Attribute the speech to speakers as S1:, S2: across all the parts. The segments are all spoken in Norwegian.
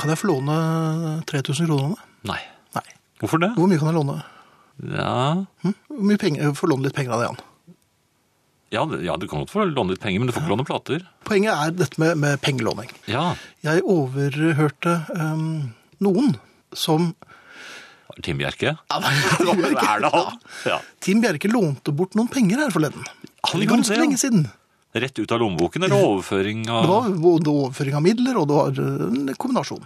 S1: Kan jeg få låne 3000 kroner? av deg?
S2: Nei.
S1: Nei.
S2: Hvorfor det?
S1: Hvor mye kan jeg låne?
S2: Ja,
S1: Hm? Hvor mye penger? Jeg får låne litt penger av deg, Jan.
S2: ja, det- ja du kan godt få låne litt penger, men du får ikke låne plater.
S1: Poenget er dette med, med pengelåning.
S2: Ja,
S1: Jeg overhørte ehm, noen som
S2: Tim Bjerke. Hva er det han? Ja.
S1: Tim Bjerke lånte bort noen penger her forleden. Det er
S2: Han gjorde
S1: ganske
S2: det, ja.
S1: lenge siden.
S2: Rett ut av lommeboken eller overføring av
S1: Det var både overføring av midler, og det var en kombinasjon.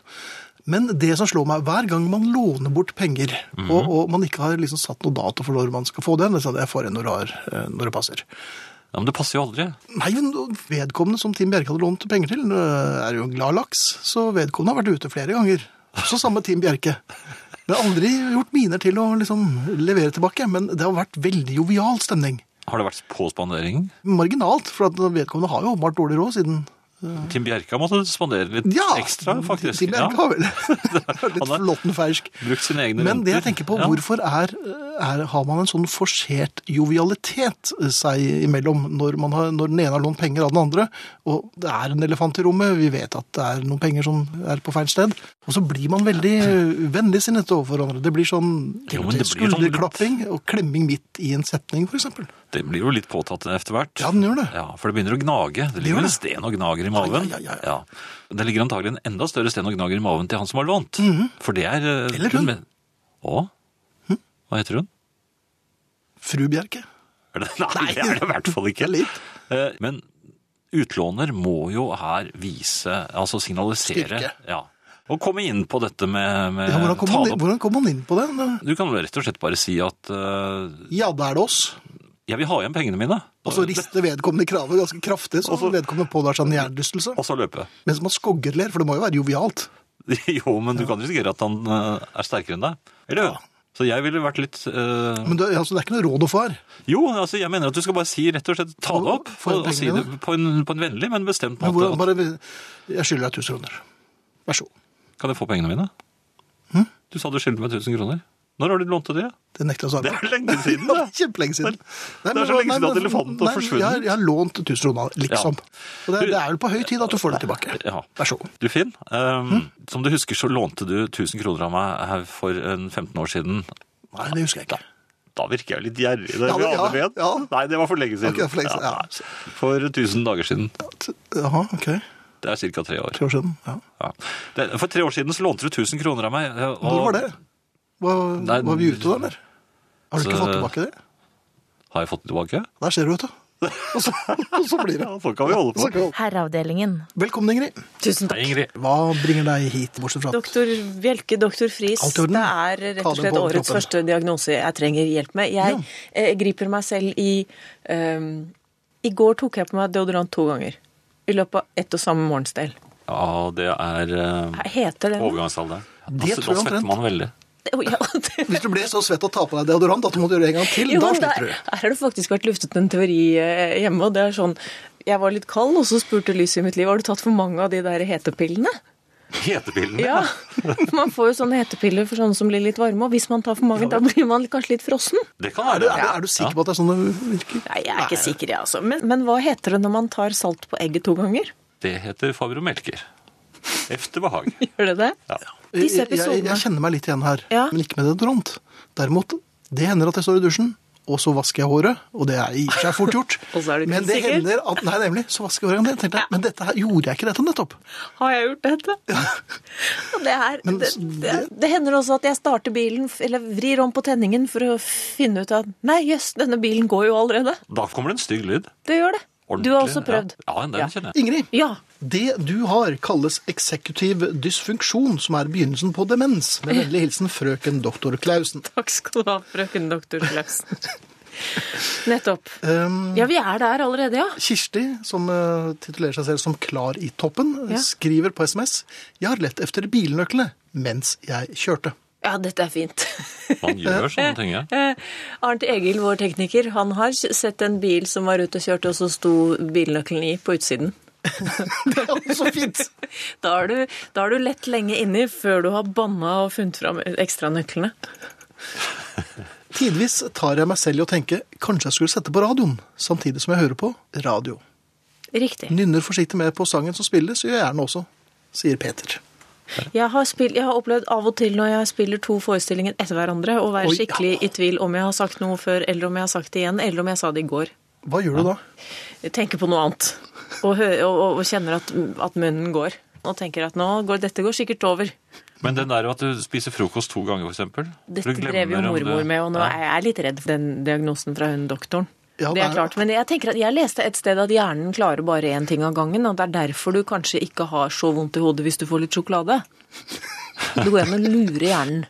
S1: Men det som slår meg, hver gang man låner bort penger,
S2: Mhm.
S1: og, og man ikke har liksom satt noe dato for når man skal få den, liksom, jeg får en når, det har, eh, når det passer.
S2: Ja, men det passer jo aldri.
S1: Nei, men vedkommende som Tim Bjerke hadde lånt penger til, eh, er jo en glad laks, så vedkommende har vært ute flere ganger. Så samme Tim Bjerke. Det har aldri gjort miner til å liksom levere tilbake, men det har vært veldig jovial stemning.
S2: Har det vært på spandering?
S1: Marginalt, for at vedkommende har jo åpenbart dårlig råd siden
S2: Tim Bjerke har måttet spandere litt ekstra, faktisk.
S1: Tim Bjerke
S2: Ja.
S1: har vel litt
S2: Han er-
S1: flåtten fersk.
S2: Brukt sine egne
S1: Men det jeg
S2: renter.
S1: tenker på,
S2: Ja.
S1: hvorfor er, er, har man en sånn forsert jovialitet seg imellom når, man har, når den ene har lånt penger av den andre, og det er en elefant i rommet, vi vet at det er noen penger som er på feil sted, og så blir man veldig vennligsinnet overfor hverandre. Det blir sånn til
S2: Jo,
S1: og
S2: men
S1: med
S2: det blir sånn litt-
S1: skulderklapping og klemming midt i en setning, for eksempel.
S2: Det blir jo litt påtatt etter hvert.
S1: Ja, den gjør det.
S2: Ja, for det begynner å gnage. Det
S1: gjør
S2: ligger vel
S1: det.
S2: en sten og gnager i maven.
S1: Ja, ja, ja,
S2: Det ligger antagelig en enda større sten og gnager i maven til han som har lånt. For det er eh,
S1: Mhm. Eller hun. Hm?
S2: men- Å? Hva heter hun?
S1: Fru Bjerke.
S2: Er det, nei, det er det i hvert fall ikke.
S1: Litt.
S2: Eh, Men utlåner må jo her vise, altså signalisere.
S1: Styrke.
S2: Ja. Og komme inn på dette med, med
S1: Ja, hvordan, kom man,
S2: tale.
S1: inn- hvordan kom man inn på det?
S2: Du kan vel rett og slett bare si at eh,
S1: Ja, da er det oss.
S2: jeg vil ha igjen pengene mine,
S1: Og så rister vedkommende kravet ganske kraftig, så vedkommende pådrar seg en hjernerystelse.
S2: og så løpe.
S1: Mens man skoggerler, for det må jo være jovialt.
S2: Jo, men du kan risikere at han eh, er sterkere enn deg. Eller? Så jeg ville vært litt eh,
S1: Men det, altså, det er ikke noe råd å få her.
S2: Jo, altså jeg mener at du skal bare si rett og slett ta det opp.
S1: Få inn
S2: Og, og si
S1: pengene,
S2: det på en, på en vennlig, men bestemt
S1: Men
S2: måte.
S1: hvordan-
S2: At,
S1: Bare, jeg skylder deg 1000 kroner. Vær så god.
S2: kan jeg få pengene mine?
S1: Hm?
S2: Du sa du skyldte meg 1000 kroner. Når har du lånt til det?
S1: Det nekter jeg å svare
S2: Det
S1: på.
S2: er lenge siden, det.
S1: Kjempelenge siden. Nei,
S2: det er
S1: men-
S2: så lenge
S1: nei,
S2: siden at
S1: men-
S2: elefanten har
S1: nei,
S2: forsvunnet.
S1: Jeg, har- jeg har lånt 1000 kroner, liksom. Og det, er-
S2: Du-
S1: det er vel på høy tid at du får det tilbake.
S2: Ja.
S1: Vær så god.
S2: Du Finn, ehm,
S1: Hm?
S2: som du husker så lånte du 1000 kroner av meg her for en 15 år siden.
S1: Nei, det husker jeg ikke.
S2: Da virker jeg litt gjerrig. Det,
S1: Ja,
S2: vi
S1: ja,
S2: aner vet.
S1: ja.
S2: Nei, det var for lenge siden.
S1: Ok, det var for lenge siden, ja.
S2: nei. For 1000 dager siden.
S1: Jaha, ok.
S2: Det er ca. tre år.
S1: Tre år siden. Ja.
S2: Ja. Det, for tre år siden så lånte du 1000 kroner av meg. og-
S1: Når var det? Var,
S2: Nei,
S1: var vi ute da, eller? Har du ikke
S2: så-
S1: fått tilbake det?
S2: Har jeg fått det tilbake?
S1: Der ser du, vet du. Og så, og så blir det.
S2: Ja, sånn kan vi holde
S1: Så
S2: på.
S1: kan-
S3: Herreavdelingen.
S1: Velkommen, Ingrid.
S3: Tusen
S2: Hei,
S3: takk.
S2: Ingrid.
S1: Hva bringer deg hit, bortsett fra at
S4: Doktor Bjelke, doktor Friis,
S1: Alt i
S4: det
S1: orden?
S4: er rett
S1: Ta
S4: og
S1: den
S4: slett
S1: på
S4: årets
S1: overkroppen.
S4: første diagnose jeg trenger hjelp med. Jeg eh, griper meg selv i ehm, I går tok jeg på meg deodorant to ganger. I løpet av ett og samme morgensdel.
S2: Ja, det er ehm,
S4: Heter det
S2: overgangsalderen.
S1: Det
S2: Altså,
S1: tror jeg
S2: da svetter
S1: omtrent.
S2: man veldig.
S4: Å, ja, det-
S1: Hvis du ble så svett og ta på deg deodorant at du måtte gjøre det en gang til,
S4: Jo,
S1: da
S4: men
S1: sliter
S4: der,
S1: du.
S4: der har det faktisk vært luftet en teori eh, hjemme, og det er sånn Jeg var litt kald, og så spurte lyset i mitt liv har du tatt for mange av de der hetepillene.
S2: Hetepillen.
S4: Ja, Man får jo sånne hetepiller for sånne som blir litt varme, og hvis man tar for mange, da blir man kanskje litt frossen.
S2: Det kan være
S1: Er du,
S2: det.
S1: er, du- er du sikker på at det er sånn det virker?
S4: Nei, jeg er ikke sikker, jeg, altså. Men, men hva heter det når man tar salt på egget to ganger?
S2: Det heter Faber og Melker. Efter behag.
S4: Gjør det det?
S2: Ja.
S4: Disse
S1: Jeg, jeg, jeg
S4: episodene.
S1: kjenner meg litt igjen her,
S4: Ja.
S1: men ikke med deodorant. Derimot, det hender at jeg står i dusjen, og så vasker jeg håret, og det er i og for seg fort gjort.
S4: Og så er du ikke
S1: men det
S4: sikker.
S1: hender at Nei, nemlig. Så vasker jeg håret en gang til. Tenkte jeg, Men dette her, gjorde jeg ikke dette nettopp?
S4: Har jeg gjort dette? Og det, er,
S1: Men
S4: det, det,
S1: det-
S4: det hender også at jeg starter bilen, f- eller vrir om på tenningen for å finne ut at nei, jøss, denne bilen går jo allerede.
S2: Da kommer det en stygg lyd.
S4: Det gjør det.
S2: Ordentlig,
S4: Du har også prøvd.
S2: Ja, ja den kjenner jeg.
S1: Ingrid,
S4: Ja.
S1: det du har kalles eksekutiv dysfunksjon, som er begynnelsen på demens. Med vennlig hilsen frøken doktor Klausen.
S4: Takk skal du ha, frøken doktor Klausen. Nettopp.
S1: Um,
S4: Ja, vi er der allerede, ja.
S1: Kirsti, som eh, titulerer seg selv som Klar i toppen,
S4: Ja.
S1: skriver på SMS Jeg har lett efter bilnøklene mens jeg kjørte.
S4: Ja, dette er fint.
S2: Man gjør sånne ting. ja.
S4: Eh, Arnt Egil, vår tekniker, han har sett en bil som var ute og kjørte, og så sto bilnøkkelen i på utsiden.
S1: Det er jo så fint!
S4: Da har du, da har du lett lenge inni før du har banna og funnet fram ekstranøklene.
S1: Tidvis tar jeg meg selv i å tenke kanskje jeg skulle sette på radioen, samtidig som jeg hører på radio.
S4: Riktig.
S1: Nynner forsiktig med på sangen som spilles, gjør jeg gjerne også, sier Peter.
S4: Jeg har, spill, jeg har opplevd av og til når jeg spiller to forestillinger etter hverandre, å være
S1: Oi, ja.
S4: skikkelig i tvil om jeg har sagt noe før, eller om jeg har sagt det igjen, eller om jeg sa det i går.
S1: Hva gjør du da?
S4: Jeg tenker på noe annet, og, hø- og, og, og kjenner at, at munnen går. Og tenker at nå går, dette går sikkert over.
S5: Men den der med at du spiser frokost to ganger, for eksempel. for
S4: Dette
S5: du
S4: drev jo
S5: glemmer om
S4: mormor
S5: du-
S4: med, og nå
S5: Ja.
S4: er jeg litt redd for den diagnosen fra hun doktoren.
S1: Ja,
S4: det
S1: det
S4: er
S1: er-
S4: klart, Men jeg tenker at jeg leste et sted at hjernen klarer bare én ting av gangen, og det er derfor du kanskje ikke har så vondt i hodet hvis du får litt sjokolade. Det går an å lure hjernen.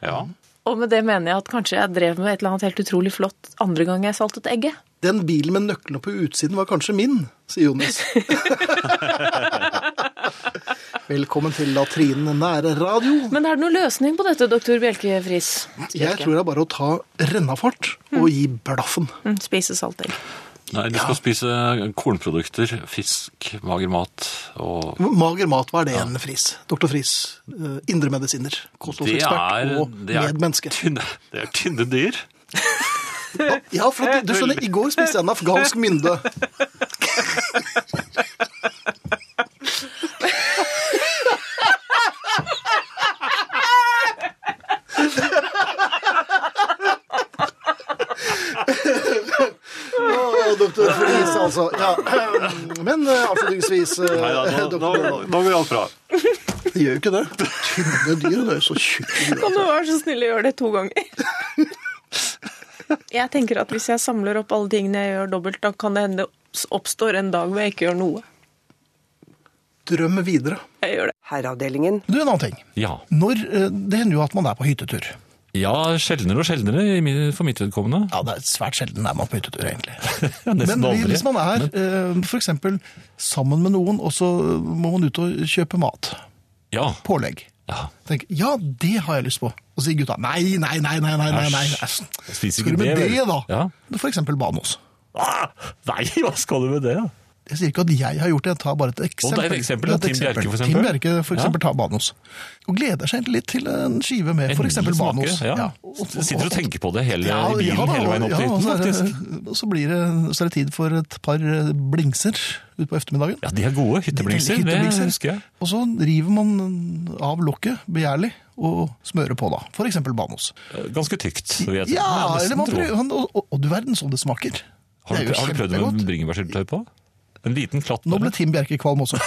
S5: Ja.
S4: Og med det mener jeg at kanskje jeg drev med et eller annet helt utrolig flott andre gang jeg saltet egget.
S1: Den bilen med nøklene på utsiden var kanskje min, sier Jonis. Velkommen til latrinen nære radio.
S4: Men er det noen løsning på dette, doktor Bjelke Friis?
S1: Jeg tror det er bare å ta rennafart og gi blaffen.
S4: Mm, Spise saltegg.
S5: Nei, du skal spise kornprodukter, fisk, mager mat og
S1: Mager mat, hva er det en Friis? Doktor Friis, eh, indremedisiner, kostholdsekspert og
S5: det er
S1: medmenneske.
S5: Tynne, det er tynne dyr.
S1: Ja, for at du, du skjønner, i går spiste jeg en afghansk mynde. Å, doktor Friis, altså. Ja. Men eh, avslutningsvis eh,
S5: Nei, ja, nå, nå,
S1: doktor,
S5: nå går alt bra.
S1: Det gjør jo ikke det. Tynne dyr, det er jo så tjukke dyr.
S4: Kan du være så snill å gjøre det to ganger? Jeg tenker at hvis jeg samler opp alle tingene jeg gjør dobbelt, da kan det hende det oppstår en dag hvor jeg ikke gjør noe.
S1: Drøm videre.
S4: Jeg gjør det.
S6: Herreavdelingen.
S1: Du, en annen ting.
S5: Ja.
S1: Når, eh, det hender jo at man er på hyttetur.
S5: ja, sjeldnere og sjeldnere i mi- for mitt vedkommende.
S1: Ja, det er svært sjelden er man på hyttetur, egentlig.
S5: Ja, nesten
S1: Men
S5: aldri.
S1: hvis man er eh, for eksempel sammen med noen, og så må man ut og kjøpe mat,
S5: Ja.
S1: pålegg.
S5: ja.
S1: Tenk, ja, det har jeg lyst på. Og så sier gutta nei, nei, nei, nei, nei, nei, nei. Æsj.
S5: Jeg spiser
S1: Skal du med det,
S5: vel?
S1: da?
S5: Ja.
S1: For eksempel Banos.
S5: Ah, nei, hva skal du med det? da?
S1: Jeg sier ikke at jeg har gjort det, jeg tar bare et eksempel.
S5: det er et eksempel,
S1: Det er
S5: Tim Bjerke,
S1: Tim
S5: for eksempel.
S1: Bjerke for
S5: Ja.
S1: eksempel tar Banos. Og gleder seg egentlig litt til en skive med
S5: En
S1: for eksempel
S5: liten
S1: Banos.
S5: smake, Ja. Sitter og tenker på det hele, i bilen
S1: ja da,
S5: hele veien opp til
S1: ja, og
S5: hytten,
S1: så er det-
S5: faktisk.
S1: Og så, blir det, så er det tid for et par eh, blingser utpå ettermiddagen.
S5: Ja, de er gode. Hytteblikser, det
S1: Hytteblikser.
S5: husker jeg.
S1: Og så river man av lokket begjærlig og smører på, da. For eksempel Banos.
S5: Eh, Ganske tykt. vil jeg tro.
S1: Ja,
S5: nesten
S1: eller man
S5: tro.
S1: prøver, og, og, og du verden som det smaker.
S5: Har
S1: Det er
S5: du,
S1: jo
S5: har du prøvd det
S1: kjempegodt.
S5: med bringebærsyltetøy på? En liten klatt
S1: Nå ble
S5: bare.
S1: Tim Bjerke kvalm også.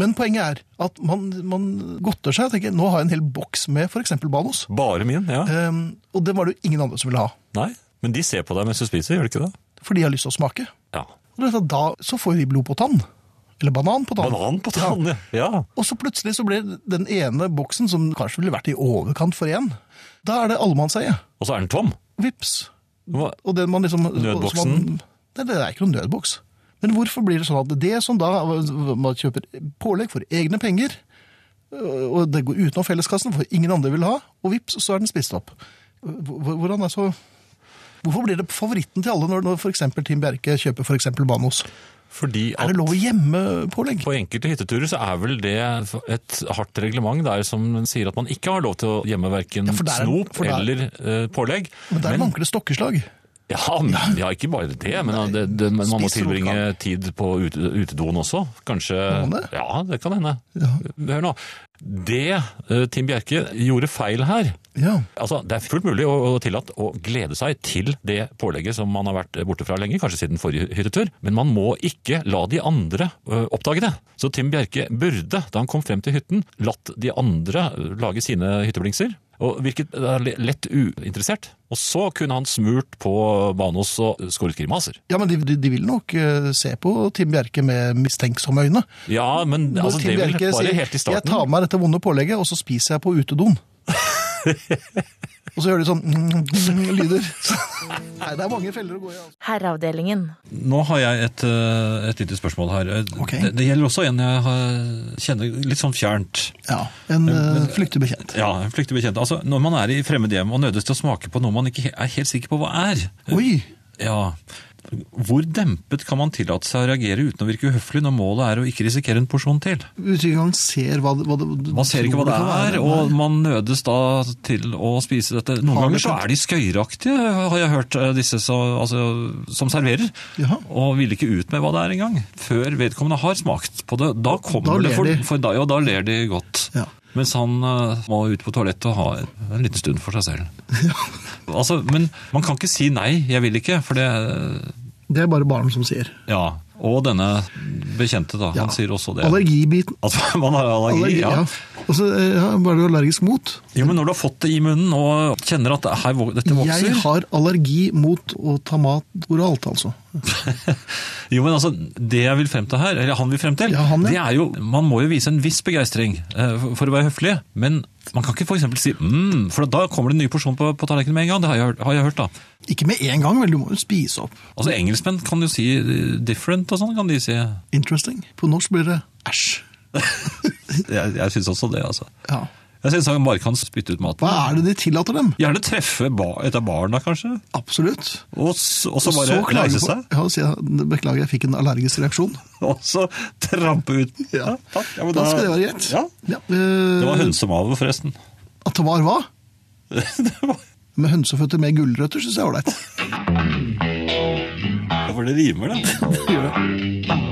S1: Men poenget er at man, man godter seg og tenker nå har jeg en hel boks med f.eks. Banos.
S5: Bare min, ja.
S1: Ehm, og det var det jo ingen andre som ville ha,
S5: Nei, men de ser på deg mens du spiser, gjør de ikke det?
S1: for de har lyst til å smake.
S5: Ja.
S1: Og dette, da så får de blod på tann. Eller banan på tann.
S5: Banan på tann, ja. ja.
S1: Og så plutselig så ble den ene boksen, som kanskje ville vært i overkant for én, da er det allemannseie.
S5: Og så er den tom.
S1: Vips.
S5: Hva-
S1: Og den man liksom,
S5: Nødboksen?
S1: som Man, nei, det er ikke noen nødboks. Men hvorfor blir det sånn at det som da man kjøper pålegg for egne penger, øh, og det går utenom felleskassen, for ingen andre vil ha, og vips, så er den spist opp. Hvor- Hvordan er så... Hvorfor blir det favoritten til alle når, når for eksempel Tim Bjerke kjøper for eksempel Banos?
S5: Fordi
S1: Er det
S5: at
S1: lov å gjemme pålegg?
S5: på enkelte hytteturer så er vel det et hardt reglement der som sier at man ikke har lov til å gjemme verken
S1: for der er-
S5: snop
S1: for der-
S5: eller eh, pålegg.
S1: Men der manker det stokkeslag.
S5: Ja, men, ja, ikke bare det, men det, det, men man må
S1: Spiser
S5: tilbringe
S1: lokalt.
S5: tid på ut- utedoen også. Kanskje
S1: Må det?
S5: Ja, det kan hende. Hør nå. Det eh, Tim Bjerke gjorde feil her
S1: Ja.
S5: Altså, Det er fullt mulig å, å tillate å glede seg til det pålegget som man har vært borte fra lenge, kanskje siden forrige hyttetur, men man må ikke la de andre ø, oppdage det. Så Tim Bjerke burde, da han kom frem til hytten, latt de andre ø, lage sine hytteblingser. Og virket ø, lett uinteressert. Og så kunne han smurt på Banos og skåret grimaser.
S1: Ja, men de, de, de vil nok eh, se på Tim Bjerke med mistenksomme øyne.
S5: Ja, men
S1: Når
S5: altså,
S1: Tim
S5: det vil
S1: Bjerke
S5: bare
S1: sier,
S5: helt i
S1: jeg tar
S5: starten.
S1: med meg dette vonde pålegget, og så spiser jeg på utedoen. og så gjør de sånn mm, mm, lyder. Nei, det er mange feller å gå i. Altså.
S7: Herreavdelingen.
S5: Nå har jeg et, ø, et lite spørsmål her.
S1: Ok.
S5: Det, det gjelder også en jeg har- kjenner litt sånn fjernt.
S1: Ja, en uh, flyktig bekjent.
S5: Ja, flyktig bekjent. Altså, når man er i fremmede hjem og nødes til å smake på noe man ikke he- er helt sikker på hva er.
S1: Oi,
S5: Ja, Hvor dempet kan man tillate seg å reagere uten å virke uhøflig når målet er å ikke risikere en porsjon til?
S1: Uten engang ser hva, det- hva det
S5: Man ser ikke hva
S1: tror
S5: det
S1: kan
S5: er,
S1: være.
S5: og man nødes da til å spise dette. Noen
S1: Har
S5: ganger
S1: det
S5: så
S1: skjedd?
S5: er de skøyeraktige, har jeg hørt, eh, disse som, altså, som serverer.
S1: Ja.
S5: Og vil ikke ut med hva det er engang, før vedkommende har smakt på det. Da kommer
S1: Da
S5: det
S1: ler
S5: for,
S1: de.
S5: for deg, og da ler de godt.
S1: Ja.
S5: Mens han eh, må ut på toalettet og ha en liten stund for seg selv. Altså, men man kan ikke si nei, jeg vil ikke, for det
S1: Det er bare barn som sier.
S5: Ja. Og denne bekjente, da.
S1: Ja.
S5: Han sier også det.
S1: Allergibiten.
S5: At man har allergi.
S1: Allergi, ja.
S5: ja.
S1: Og så eh, ja, var du allergisk mot.
S5: Jo, men når du har fått det i munnen og kjenner at her, vok- dette vokser
S1: Jeg har allergi mot å ta mat oralt, altså.
S5: Jo, men altså, Det jeg vil frem til her, eller han vil frem til,
S1: Ja, han, ja.
S5: det er jo Man må jo vise en viss begeistring eh, for- for å være høflig, men man kan ikke f.eks. si mm, for da kommer det en ny porsjon på, på tallerkenen med en gang. Det har jeg, hørt- har jeg hørt, da.
S1: Ikke med en gang, vel, du må jo spise opp.
S5: Altså, Engelskmenn kan jo si eh, 'different' og sånn, kan de si. Jeg,
S1: Interesting. På norsk blir det æsj.
S5: jeg syns også det, altså.
S1: Ja.
S5: Jeg syns han bare kan spytte ut
S1: Hva
S5: maten.
S1: er det de tillater dem?
S5: Gjerne treffe ba, et av barna, kanskje,
S1: Absolutt.
S5: og, s- og så
S1: Og
S5: bare
S1: klager
S5: reise
S1: på-
S5: seg,
S1: Ja, og si at beklager, jeg fikk en allergisk reaksjon.
S5: og så trampe ut.
S1: Ja.
S5: takk. Ja, men
S1: Da skal det være greit.
S5: Ja,
S1: Ja, eh,
S5: Det var hønsemave, forresten.
S1: At det var hva?
S5: det var,
S1: Med hønseføtter med gulrøtter syns jeg er ålreit.
S5: for det rimer, det.